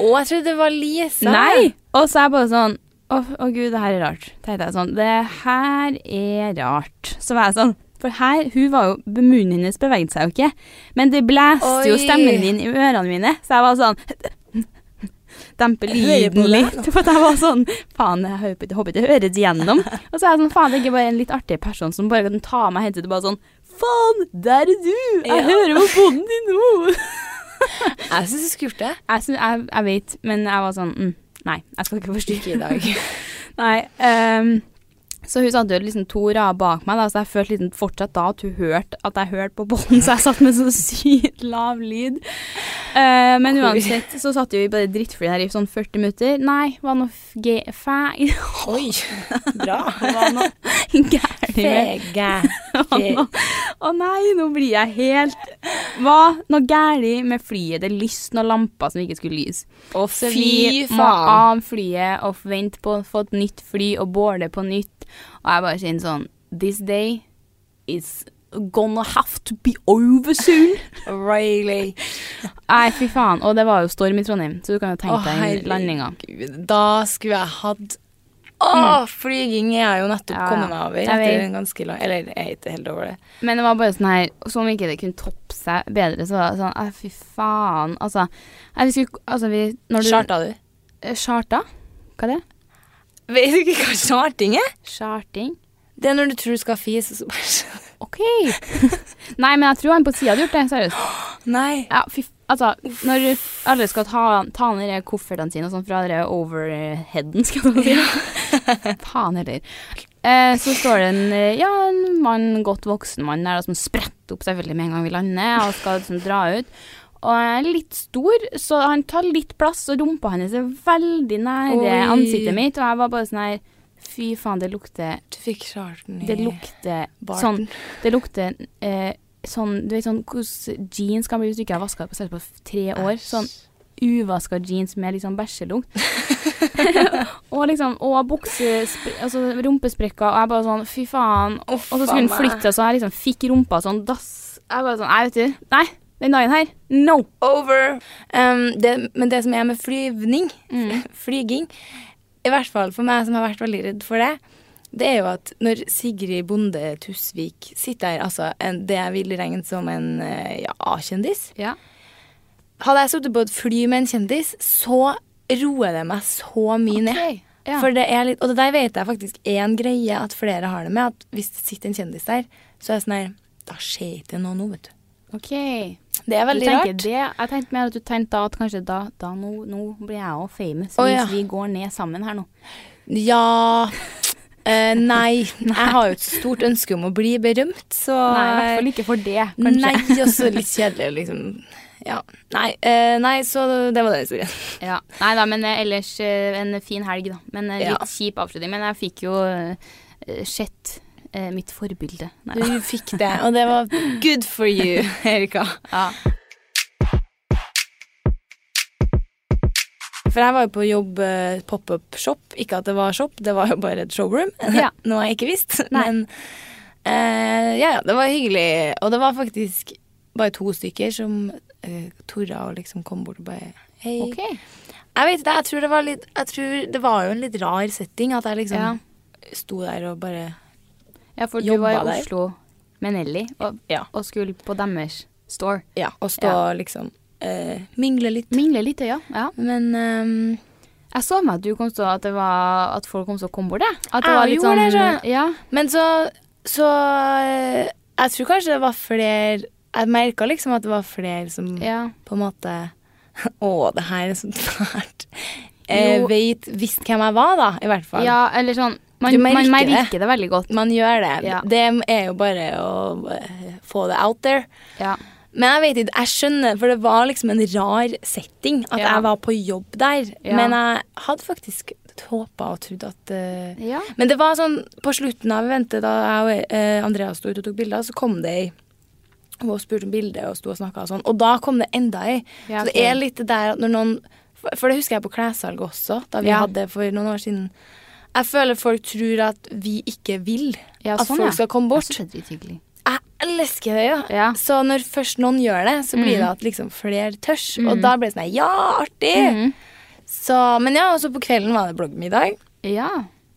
Å, jeg trodde det var Lisa. Nei! Og så er jeg bare sånn Å, å gud, det her er rart. Tenkte jeg sånn Det her er rart. Så var jeg sånn For her, hun var jo Munnen hennes beveget seg jo ikke. Men det blæste jo Oi. stemmen min i ørene mine, så jeg var sånn Dempe Jeg hører lyden på deg litt. For at jeg var sånn Faen, jeg håper ikke- håper ikke det høres gjennom. Og så er jeg sånn Faen, det er ikke bare en litt artig person som bare kan ta meg i hensynet og bare sånn Faen, der er du! Ja. Jeg hører på bånden din nå! Jeg syns du skulle gjort det. Jeg, synes, jeg, jeg vet, men jeg var sånn mm, Nei, jeg skal ikke forstyrre. Ikke i dag. Nei, ehm, så hun satt jo liksom to rader bak meg, da, så jeg følte liksom fortsatt da at hun hørte at jeg hørte på bånd, så jeg satt med så sykt lav lyd. Eh, men Hvor- uansett så satt jo vi på det drittflyet her i sånn 40 minutter. Nei, var noe f- ge- fæ... Oi. Bra. Var noe gærent med Fege. Var noe- Å nei, nå blir jeg helt Hva? Noe gærent med flyet. Det lyste noen lamper som ikke skulle lyse. Å, Så vi må av flyet og vente på å få et nytt fly og boarde på nytt. Og jeg bare kjenner sånn This day is gonna have to be over soon. Riley. Nei, fy faen. Og det var jo storm i Trondheim, så du kan jo tenke Å, deg den landinga. herregud. Da skulle jeg hatt Å, flyging er Mm. jeg jo nettopp Ja, ja. kommet meg over Jeg etter vet. en ganske lang Eller jeg er ikke helt over det. Men det var bare sånn her Som om ikke det kunne toppe seg bedre, så var det sånn Nei, fy faen. Altså, nei, vi skulle Altså, vi når du, Charta du? Eh, Charta? Hva er det? Vet du ikke hva charting er? Charting? Det er når du tror du skal fise, og så bare OK. Nei, men jeg tror han på sida hadde gjort det. Seriøst. Nei. Ja, fy f- Altså, når alle skal ta, ta ned de koffertene sine og sånn fra den overheaden, skal man si. Faen heller. Eh, så står det en, eh, ja, en mann, godt voksen mann der da, som spretter opp selvfølgelig med en gang vi lander, og skal liksom dra ut. Og han er litt stor, så han tar litt plass, og rumpa hans er veldig nære Oi. ansiktet mitt, og jeg var bare sånn her Fy faen, det lukter Du fikk charten i Det lukter sånn barten. det lukter eh, sånn Du vet sånn hvordan jeans kan bli hvis du ikke har vaska på selv på f- tre år. Sånn uvaska jeans med liksom bæsjelukt. og liksom Og bukse... Altså rumpesprekker. Og jeg bare sånn Fy faen. Og, og så skulle faen den flytte, så jeg liksom fikk rumpa sånn dass. Jeg bare sånn Nei, vet du. Nei. Den dagen her. No. Over. Um, det, men det som er med flyvning, Mm. flyging, i hvert fall for meg som har vært veldig redd for det, det er jo at når Sigrid Bonde Tusvik sitter her, altså en, det jeg vil regne som en eh, ja, A-kjendis Ja. Hadde jeg sittet på et fly med en kjendis, så roer det meg så mye ned. Ok, ja. For det er litt, og det der vet jeg faktisk er en greie at flere har det med, at hvis det sitter en kjendis der, så er jeg sånn her Da skjer ikke noe nå, vet du. OK. Det er Du veldig tenker rart. det. Jeg tenkte mer at du tenkte da at kanskje da, da nå, nå blir jeg òg famous Å, hvis ja. vi går ned sammen her nå. Ja eh, nei. Jeg har jo et stort ønske om å bli berømt, så eh, Nei, altså, i hvert fall ikke for det, kanskje. Nei, også litt kjedelig, liksom. Ja. Nei, eh, nei, så det var den historien. Ja. Nei da, men eh, ellers eh, en fin helg, da. Men eh, litt Ja. kjip avslutning. Men jeg fikk jo eh, sett eh, mitt forbilde. Mm. Nei. Du fikk det, og det var good for you, Erika. Ja. For jeg var jo på jobb eh, pop-up-shop. Ikke at det var shop, det var jo bare et showroom. Ja. Noe jeg ikke visste. Nei. Men eh, ja, ja, det var hyggelig. Og det var faktisk bare to stykker som uh, torde å liksom komme bort og bare Hei. Jeg vet ikke, jeg tror det var litt Jeg tror det var jo en litt rar setting at jeg liksom Ja. sto der og bare Ja, for du Jobba var i der. Oslo med Nelly og, Ja. og skulle på deres store. Ja, og stå Ja. og liksom eh, mingle litt. Mingle litt, ja. ja. Men ehm, Jeg så meg at, du kom så, at, det var, at folk kom så kom bort, jeg. At Jeg det var litt gjorde sånn det, så. Ja. Men så, så eh, Jeg tror kanskje det var flere Jeg merka liksom at det var flere som ja. på en måte Å, det her er så fælt. Eh, Jo. vet, visste hvem jeg var, da, i hvert fall. ja, eller sånn Man, Du man merker merker, det. det veldig godt. Man gjør det. Ja. Det er jo bare å eh, få det out there. Ja. Men jeg vet ikke, jeg skjønner, for det var liksom en rar setting at Ja. jeg var på jobb der. Ja. Men jeg hadde faktisk håpa og trodd at eh, Ja. Men det var sånn, på slutten av eventet, da jeg og eh, Andrea sto ute og tok bilder, så kom det ei og spurte om bilde og sto og snakka og sånn. Og da kom det enda ei. Ja, Så det ok. er litt det der at når noen For for det husker jeg på klessalget også, da vi Ja. hadde for noen år siden. Jeg føler folk tror at vi ikke vil Ja, at sånn, folk ja. skal komme bort. Jeg synes det er drithyggelig. Jeg elsker det, jo. Ja. Mhm. Så når først noen gjør det, så blir det at liksom flere tørs. Og da blir det sånn her, Ja, artig! Mhm. Så, men ja, og så på kvelden var det bloggmiddag. Ja.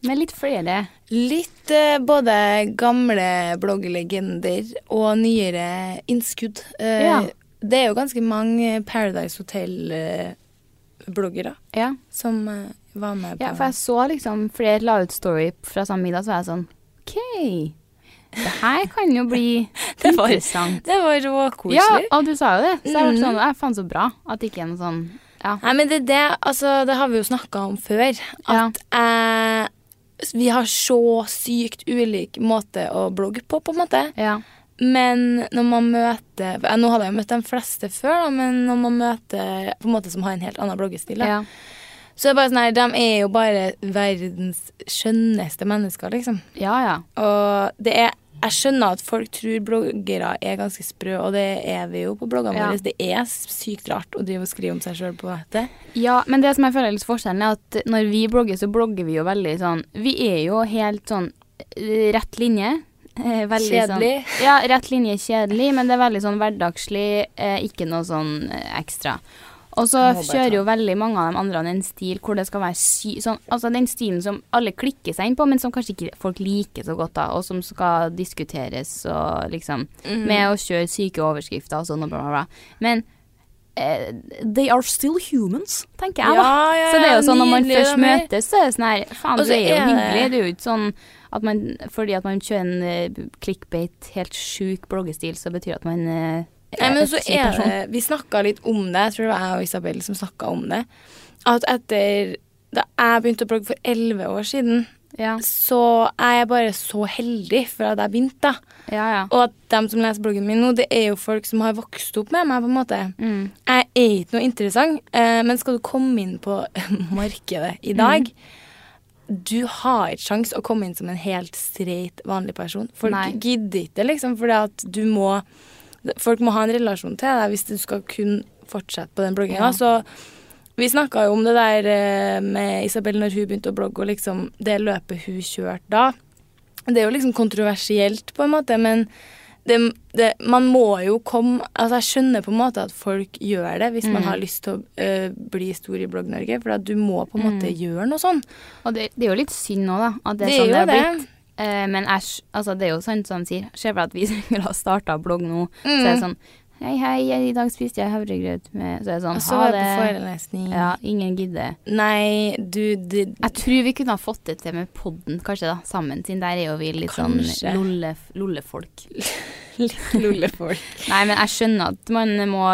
Med litt flere. Litt eh, både gamle blogglegender og nyere innskudd. Eh, Ja. Det er jo ganske mange Paradise Hotel-bloggere Ja. som eh, var med på ja. For jeg så liksom flere la ut story fra samme middag, så var jeg sånn OK. Det her kan jo bli Det var- interessant. Det var råkoselig. Ja, og du sa jo det. Så jeg ble Mhm. sånn, jeg faen så bra at det ikke er noe sånn Ja. Nei, men det, er det, altså, det har vi jo snakka om før. At eh, vi har så sykt ulik måte å blogge på, på en måte. ja. Men når man møter eh, Nå hadde jeg jo møtt de fleste før, da, men når man møter på en måte som har en helt annen bloggestil, da, ja. så er det bare sånn her, de er jo bare verdens skjønneste mennesker, liksom. Ja, ja. Og det er jeg skjønner at folk tror bloggere er ganske sprø, og det er vi jo på bloggene Ja. våre. Det er sykt rart å drive og skrive om seg sjøl på nettet. Ja, men det som jeg føler er litt forskjellen, er at når vi blogger, så blogger vi jo veldig sånn Vi er jo helt sånn eh, rett linje. Eh, veldig Kjedelig. Sånn, ja, rett linje kjedelig, men det er veldig sånn hverdagslig, eh, ikke noe sånn eh, ekstra. Og så Jeg må bare kjører ta- jo veldig mange av de andre en stil hvor det skal være sy... Sånn, altså den stilen som alle klikker seg inn på, men som kanskje ikke folk liker så godt, da, og som skal diskuteres og liksom Mhm. Med å kjøre syke overskrifter og sånn og bla, bla, bla. Men eh, they are still humans, tenker jeg, da. Ja, ja, så det er ja, jo sånn når man nydelig, det først er mer- møtes, så er det sånn her Faen, Og så du er jo er det- hyggelig. Det er jo ikke sånn at man Fordi at man kjører en eh, clickbait, helt sjuk bloggestil, så betyr det at man eh, Nei, men et så syk er person. det, Vi snakka litt om det, jeg tror det var jeg og Isabel som snakka om det. At etter Da jeg begynte å blogge for elleve år siden, Ja, så er jeg bare så heldig for at jeg begynte. da. ja. ja. Og at dem som leser bloggen min nå, det er jo folk som har vokst opp med meg, på en måte. Mm. Jeg er ikke noe interessant, eh, men skal du komme inn på markedet Mm. i dag Du har ikke sjans å komme inn som en helt streit, vanlig person. Folk Nei. gidder ikke, liksom, fordi at du må Folk må ha en relasjon til deg hvis du skal kunne fortsette på den blogginga. Ja. Så vi snakka jo om det der eh, med Isabel når hun begynte å blogge, og liksom det løpet hun kjørte da. Det er jo liksom kontroversielt, på en måte, men det, det, man må jo komme Altså, jeg skjønner på en måte at folk gjør det hvis Mm. man har lyst til å eh, bli stor i Blogg-Norge, for at du må på en måte Mm. gjøre noe sånn. Og det, det er jo litt synd nå, da. At det Det er er sånn jo det har det. blitt. Eh, men æsj, altså det er jo sant som de sier. Se for deg at vi skulle ha starta blogg nå. Så Mm. er det sånn Hei, hei, i dag spiste jeg havregrøt med Så er det sånn, Og så ha var det. jeg Altså, på forelesning. Ja, ingen gidder. Nei, du det, Jeg tror vi kunne ha fått det til med podden, kanskje, da, sammen. Siden der er jo vi litt Kanskje. sånn lolle, lollefolk. Litt lullefolk. Nei, men jeg skjønner at man må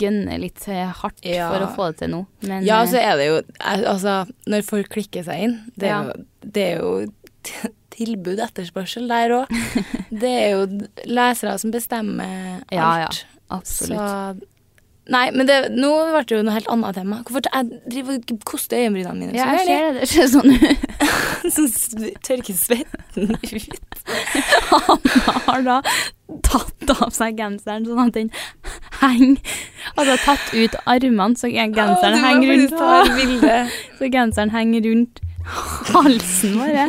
gønne litt eh, hardt Ja. for å få det til nå. Men Ja, så eh, er det jo al- Altså, når folk klikker seg inn, det Ja. er jo, det er jo t- tilbud etterspørsel der òg. Det er jo d- lesere som bestemmer alt. Ja, ja. absolutt. Så Nei, men det, nå ble det jo noe helt annet tema. Hvorfor t- jeg driver og koster øyenbrynene mine? Ja, jeg veldig? ser det. Det ser sånn ut. Så s- tørker svetten ut. Han har da tatt av seg genseren, sånn at den henger Altså tatt ut armene, så Å, genseren du må henger rundt. faktisk ta et bilde. Så genseren henger rundt halsen bare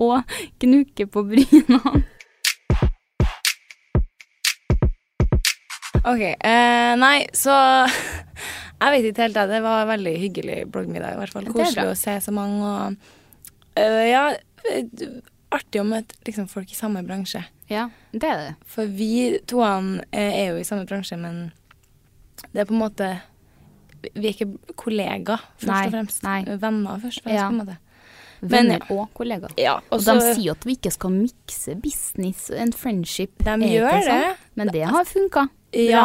og gnukker på bryna. Ok, eh, nei, så Jeg vet ikke helt, jeg. Det var en veldig hyggelig bloggmiddag, i hvert fall. Det er Koselig bra. å se så mange og eh, Ja, eh, artig å møte liksom, folk i samme bransje. Ja, det er det. For vi toene eh, er jo i samme bransje, men det er på en måte Vi er ikke kollegaer, først Nei, og fremst. nei. Venner, først og fremst, Ja. på en måte. Venner Men- og kollegaer. Ja, Og de sier at vi ikke skal mikse business and friendship. De Er ikke gjør sånn? det. Men det har funka. Ja,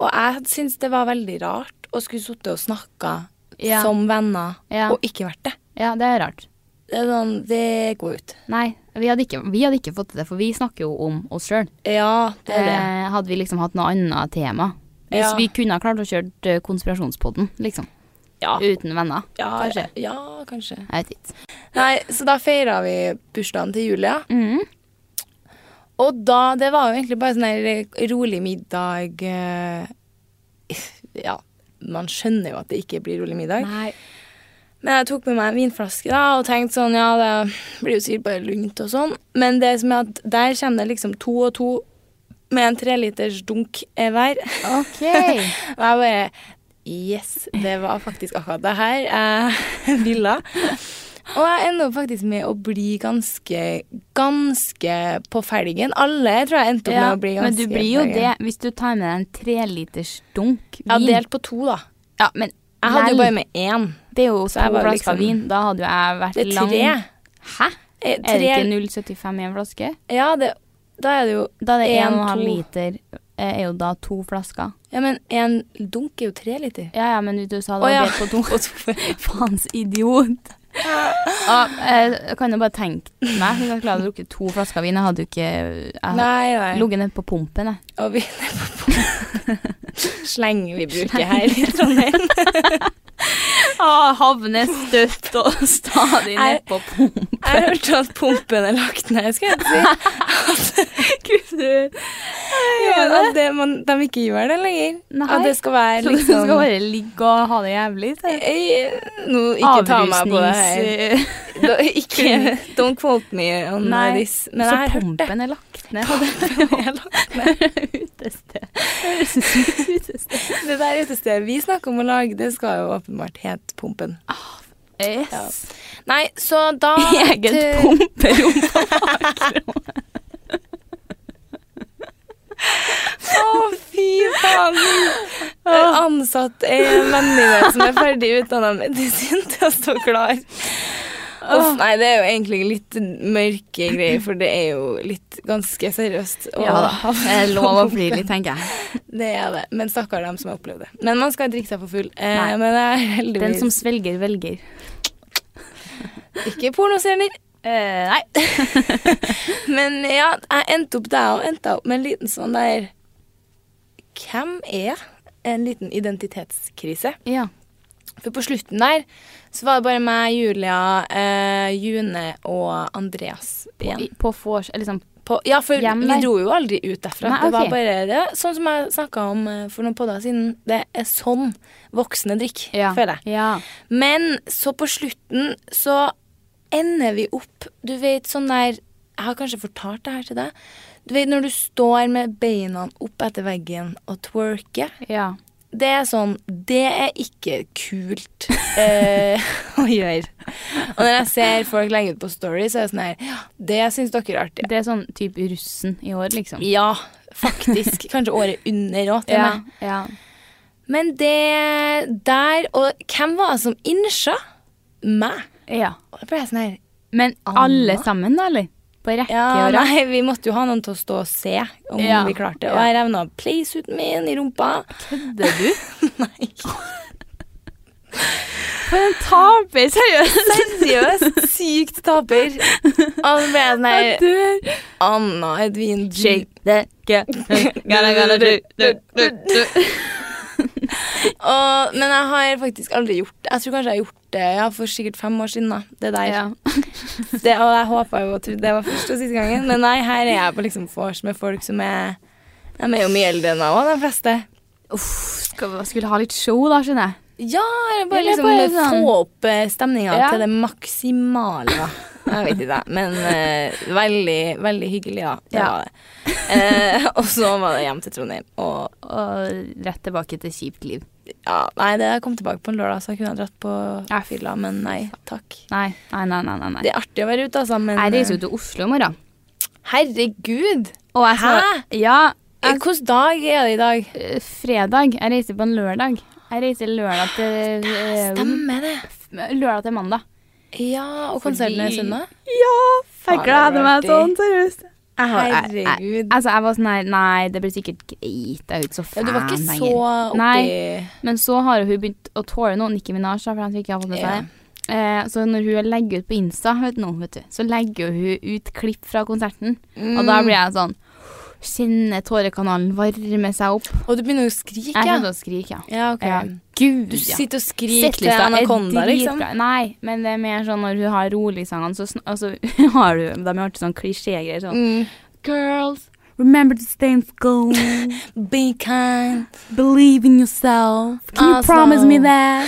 og jeg syns det var veldig rart å skulle sitte og snakke Ja. som venner Ja. og ikke vært det. Ja, det er rart. Det, er sånn, det går ut. Nei, vi hadde ikke, vi hadde ikke fått til det, for vi snakker jo om oss sjøl. Ja, det er det. Eh, hadde vi liksom hatt noe annet tema. Hvis Ja. vi kunne ha klart å kjøre eh, konspirasjonspodden, liksom. Ja, Uten venner. ja, kanskje. Ja, kanskje. Jeg vet ikke. Nei, så da feira vi bursdagen til Julia. Mm. Og da Det var jo egentlig bare sånn her rolig middag eh, Ja, man skjønner jo at det ikke blir rolig middag. Nei. Men jeg tok med meg en vinflaske da, og tenkte sånn, ja, det blir jo sikkert bare lunt og sånn. Men det som er at der kommer det liksom to og to med en treliters dunk eh, hver. Ok. og jeg bare, yes, det var faktisk akkurat det her jeg ville. Og jeg ender opp faktisk med å bli ganske, ganske på felgen. Alle tror jeg endte opp med å bli men ganske du blir jo på felgen. det hvis du tar med deg en treliters dunk Jeg vin. hadde delt på to da. Ja, men Jeg hadde vel, jo bare med én. Det er jo jeg to var flasker liksom- vin. Da hadde jo jeg vært Det er lang tre. Hæ? Eh, Er det tre- ikke 0,75 i en flaske? Ja, det, da er det jo Da er det En, 1,5 to. liter eh, er jo da to flasker. Ja, men en dunk er jo tre liter. Ja, ja, men du, du sa det Å, var ja. delt på to. Faens idiot. Ja, eh, jeg kan jo bare tenke meg Hun hadde klart å drukke to flasker vin. Jeg hadde jo ikke Jeg Nei, nei. ligget nede på pumpen, jeg. Og vi Sleng vi bruker her liksom? i Trondheim. Ah, havner støtt og stadig ned på pumpen. Jeg hørte at pumpen er lagt ned, skal jeg si. Ja, at det, man, de ikke gjør det lenger. Nei. At det skal være Så du liksom skal bare ligge og ha det jævlig? så er det Eh, Nå, ikke ta meg på det her. avrusnings- Da, ikke, don't quote me on Nei, this. Men så jeg har hørt det. pumpen er lagt ned. Hadde utested. Høres ut som utested. Det der utestedet vi snakker om å lage, det skal jo åpenbart hete Pumpen. Yes. Nei, så da Eget pumperom på bakrommet. Å, fy faen! Ansatt en venninne som er ferdig utdanna medisin til å stå klar. Uff, nei, det er jo egentlig litt mørke greier, for det er jo litt ganske seriøst. å havne Det er lov å på flire litt, tenker jeg. Det er det. Men stakkar dem som har opplevd det. Men man skal drikke seg for full. Eh, Nei. men det er Den heldigvis som svelger, velger. ikke pornostjerner. nei. Men ja, jeg endte opp der og endte opp med en liten sånn der Hvem er jeg? En liten identitetskrise. Ja. For på slutten der så var det bare meg, Julia, eh, June og Andreas igjen. I- På vors... Eller sånn På, ja, for Hjem vi der. dro jo aldri ut derfra. Nei, Det var ok. bare det. Sånn som jeg snakka om eh, for noen podder siden. Det er sånn voksne drikker, ja. føler jeg. Ja. Men så på slutten så ender vi opp Du vet sånn der Jeg har kanskje fortalt det her til deg. Du vet når du står med beina opp etter veggen og twerker. ja. Det er sånn Det er ikke kult eh, å gjøre. Og når jeg ser folk legge ut på story, så er det sånn her «Ja, Det syns dere er artig. Det er sånn type russen i år, liksom. Ja, faktisk. Kanskje året under òg, til ja. meg. ja. Men det der Og hvem var det som innsa? Meg. ja. Og da ble jeg sånn her Men alle sammen, da, eller? På rekke Ja, og rad? nei, vi måtte jo ha noen til å stå og se om Ja. vi klarte det. Ja. Og jeg revna playsuiten min i rumpa. Kødder du? Nei, For en taper, seriøst! seriøst. Sykt taper. Og så ble jeg sånn Jeg her dør. Anna Edvin du- Shake that, get- gotta, gotta do, do, do, do. Og, men jeg har faktisk aldri gjort det. Jeg tror kanskje jeg har gjort det ja, for sikkert fem år siden. da Det der Ja. det, Og jeg håpa jo at det var første og siste gangen, men nei, her er jeg på liksom vors med folk som er De er jo mye eldre enn meg òg, de fleste. Uff, skal, skulle ha litt show da, skjønner jeg. Ja, eller bare Eller liksom bare sånn- få opp eh, stemninga Ja. til det maksimale. da. Jeg vet ikke, jeg. men eh, veldig, veldig hyggelig, da. Det Ja. var det. Eh, og så var det hjem til Trondheim. Og Og rett tilbake til kjipt liv. ja, nei, det jeg kom tilbake på en lørdag, så jeg kunne ha dratt på Ja. fylla, men nei takk. Nei, nei, nei, nei. nei, nei. Det er artig å være ute, altså, men Jeg reiser jo til Oslo i morgen. eh, Herregud! Og jeg skal, Ja, Eh, Hvilken dag er det i dag? eh, fredag. Jeg reiser på en lørdag. Jeg reiser lørdag til eh, Stemmer det. Lørdag til mandag. Ja, og konserten er Fordi- søndag? Ja! Faen, det blir artig. seriøst. Jeg, har- jeg, sånn, jeg, Herregud. altså, jeg var sånn her Nei, det blir sikkert greit. Jeg er jo ikke så Ja, fan du var ikke så lenger. oppi Nei. Men så har jo hun begynt å tåle noe, Nikki Minaj, da, for han som ikke har fått med seg Ja. det. Eh, så når hun legger ut på Insta, vet du, nå, vet du, så legger jo hun ut klipp fra konserten. Og Mm. da blir jeg sånn Kjenner tårekanalen varme seg opp. Og du begynner jo å skrike. Jeg kommer til å skrike, ja. Ja, ok. ja. Gud, Du ja. sitter og skriker til Settlista er Anaconda, liksom. dritbra. Nei, men det er mer sånn når hun har roligsangene, så sn- altså, har du De har alltid sånn klisjégreier sånn Mm. Girls, remember to stay in school. Be kind. Believe in yourself. Can you Altså. promise me that?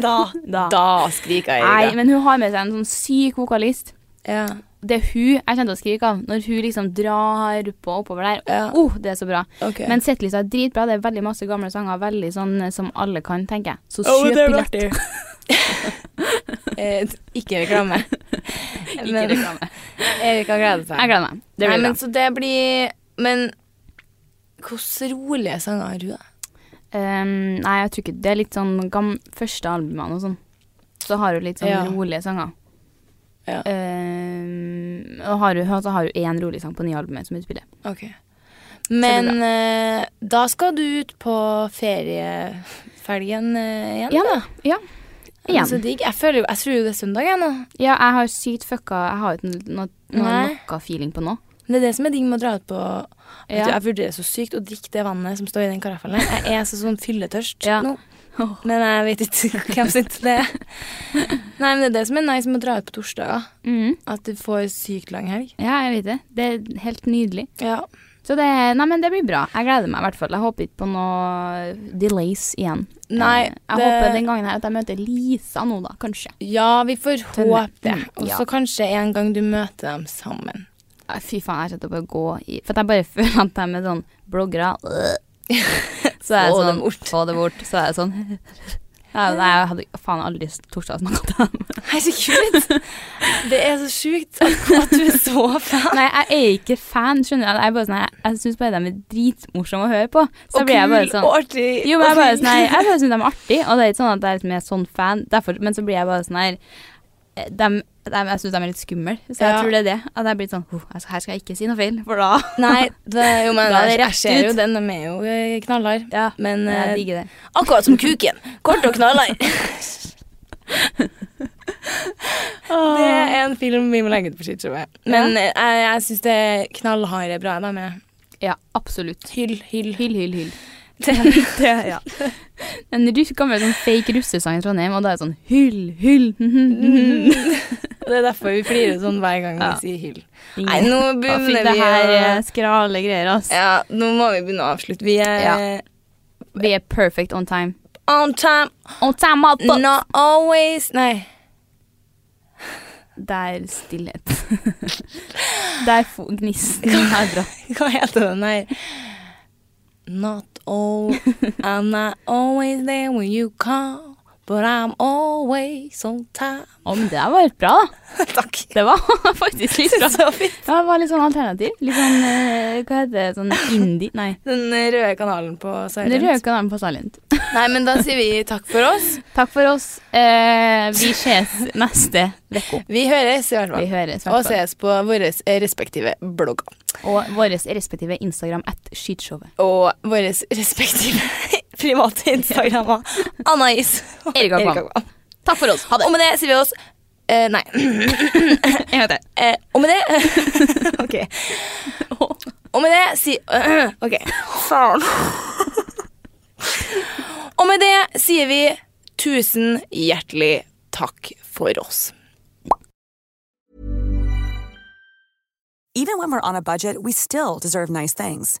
Da, Da. skriker Nei, men hun har med seg en sånn syk vokalist. Ja. Det er hun jeg kommer til å skrike av når hun liksom drar på oppover der. Ja. Oh, det er så bra. Ok. Men settlista er dritbra. Det er veldig masse gamle sanger. Veldig sånn eh, som alle kan, tenker jeg. Så Å, kjøp det er billett. artig. Eh, ikke reklame. Ikke Men- reklame. Erik har gledet seg. Jeg gleder meg. Det Nei, blir bra. men så det blir Men hvordan rolige sanger har du, da? Ehm, nei, jeg tror ikke det er litt sånn gam første albumene og sånn. Så har hun litt sånn Ja. rolige sanger. Ja. Ehm, og har hun, og så har hun én rolig sang på nye albumet som hun spiller. Ok. Men eh, da skal du ut på feriefelgen eh, igjen, Ja da. da. Ja. Ja, men Så Igjen. digg. Jeg, føler, jo- jeg tror jo det er søndag, jeg nå. Ja, jeg har sykt fucka Jeg har jo ikke no, no, Nei. noe feeling på nå. Det er det som er digg med å dra ut på Vet Ja. du, Jeg vurderer så sykt å drikke det vannet som står i den karaffelen. Jeg er så sånn fylletørst Ja. nå. Men jeg vet ikke hvem sitt det er. Nei, men det er det som er nice med å dra ut på torsdager. Mhm. At du får sykt lang helg. Ja, jeg vet det. Det er helt nydelig. Ja. Så det Nei, men det blir bra. Jeg gleder meg i hvert fall. Jeg håper ikke på noe delays igjen. Nei, Eh, jeg håper den gangen her at jeg møter Lisa nå, da. Kanskje. Ja, vi får Den- håpe det. Mm, Og ja. så kanskje en gang du møter dem sammen. Nei, Fy faen, jeg setter opp å gå i For at jeg bare føler at de er sånn bloggere. øh. Så er jeg Få det sånn bort. Få det bort. Så er jeg sånn Ja, Nei, jeg hadde faen aldri torsdag snakket om dem. Herregud! Det er så sjukt at at du er så fan. Nei, jeg er ikke fan, skjønner du. Jeg, er bare sånn, her- jeg syns bare de er dritmorsomme å høre på. Så blir jeg bare sånn og artig. Jo, men jeg og bare fin. sånn her Jeg bare syns de er artige, og det er ikke sånn at jeg liksom er sånn fan, derfor, men så blir jeg bare sånn her eh, dem- dem- jeg syns de er litt skumle, så jeg Ja. tror det er det. At jeg blir sånn «Åh, jeg skal- Her skal jeg ikke si noe feil, for da Nei, det, jo, men, Da er det jeg- jeg rett ser jo ut. den. De er jo eh, knallhard. Ja, Men eh, Jeg digger det. akkurat som kuken. Kort og knallhard. det er en film vi må legge ut på Shitshowet. Men eh, jeg, jeg syns det knallharde er bra. Da, med Ja, absolutt. hyll, hyll. Hyll, hyll, hyll. Det- En russ, gammel sånn fake russesang i Trondheim, og da er det sånn hyll, hyll Ingen. det er derfor vi flirer sånn hver gang Ja. vi sier hyll. Nei, nå Da fikk begynner det vi her eh, å skrale greier, ass. ja, Nå må vi begynne å avslutte. Vi er Ja. Vi er perfect on time. on time, On time, motherfucker! not always Nei. Der stillhet. Der fo- gnisten har dratt. Hva heter den her? Not all I'm not always there when you call But I'm always on time Å, men det der var helt bra, da. Takk Det var faktisk litt bra. Synes det var fint Ja, det var litt sånn alternativ. Litt sånn, eh, hva heter det, sånn indie Nei. Den røde kanalen på Det Silent røde kanalen på Silent. Nei, men da sier vi takk for oss Takk for oss. Eh, vi ses neste uke. Vi høres i hvert fall Vi høres. i hvert Og fall. ses på våre respektive blogger Og våre respektive Instagram at skytshowet. Og våre respektive private Instagrammer Anais og Erik Akvam. Akvam. Takk for oss. Ha det. Og med det sier vi oss eh, Nei En gang til. Eh, og med det Ok. Og med det si Ok. Faen. og Og med det sier vi tusen hjertelig takk for oss. Even when we're on a budget, we still deserve nice things.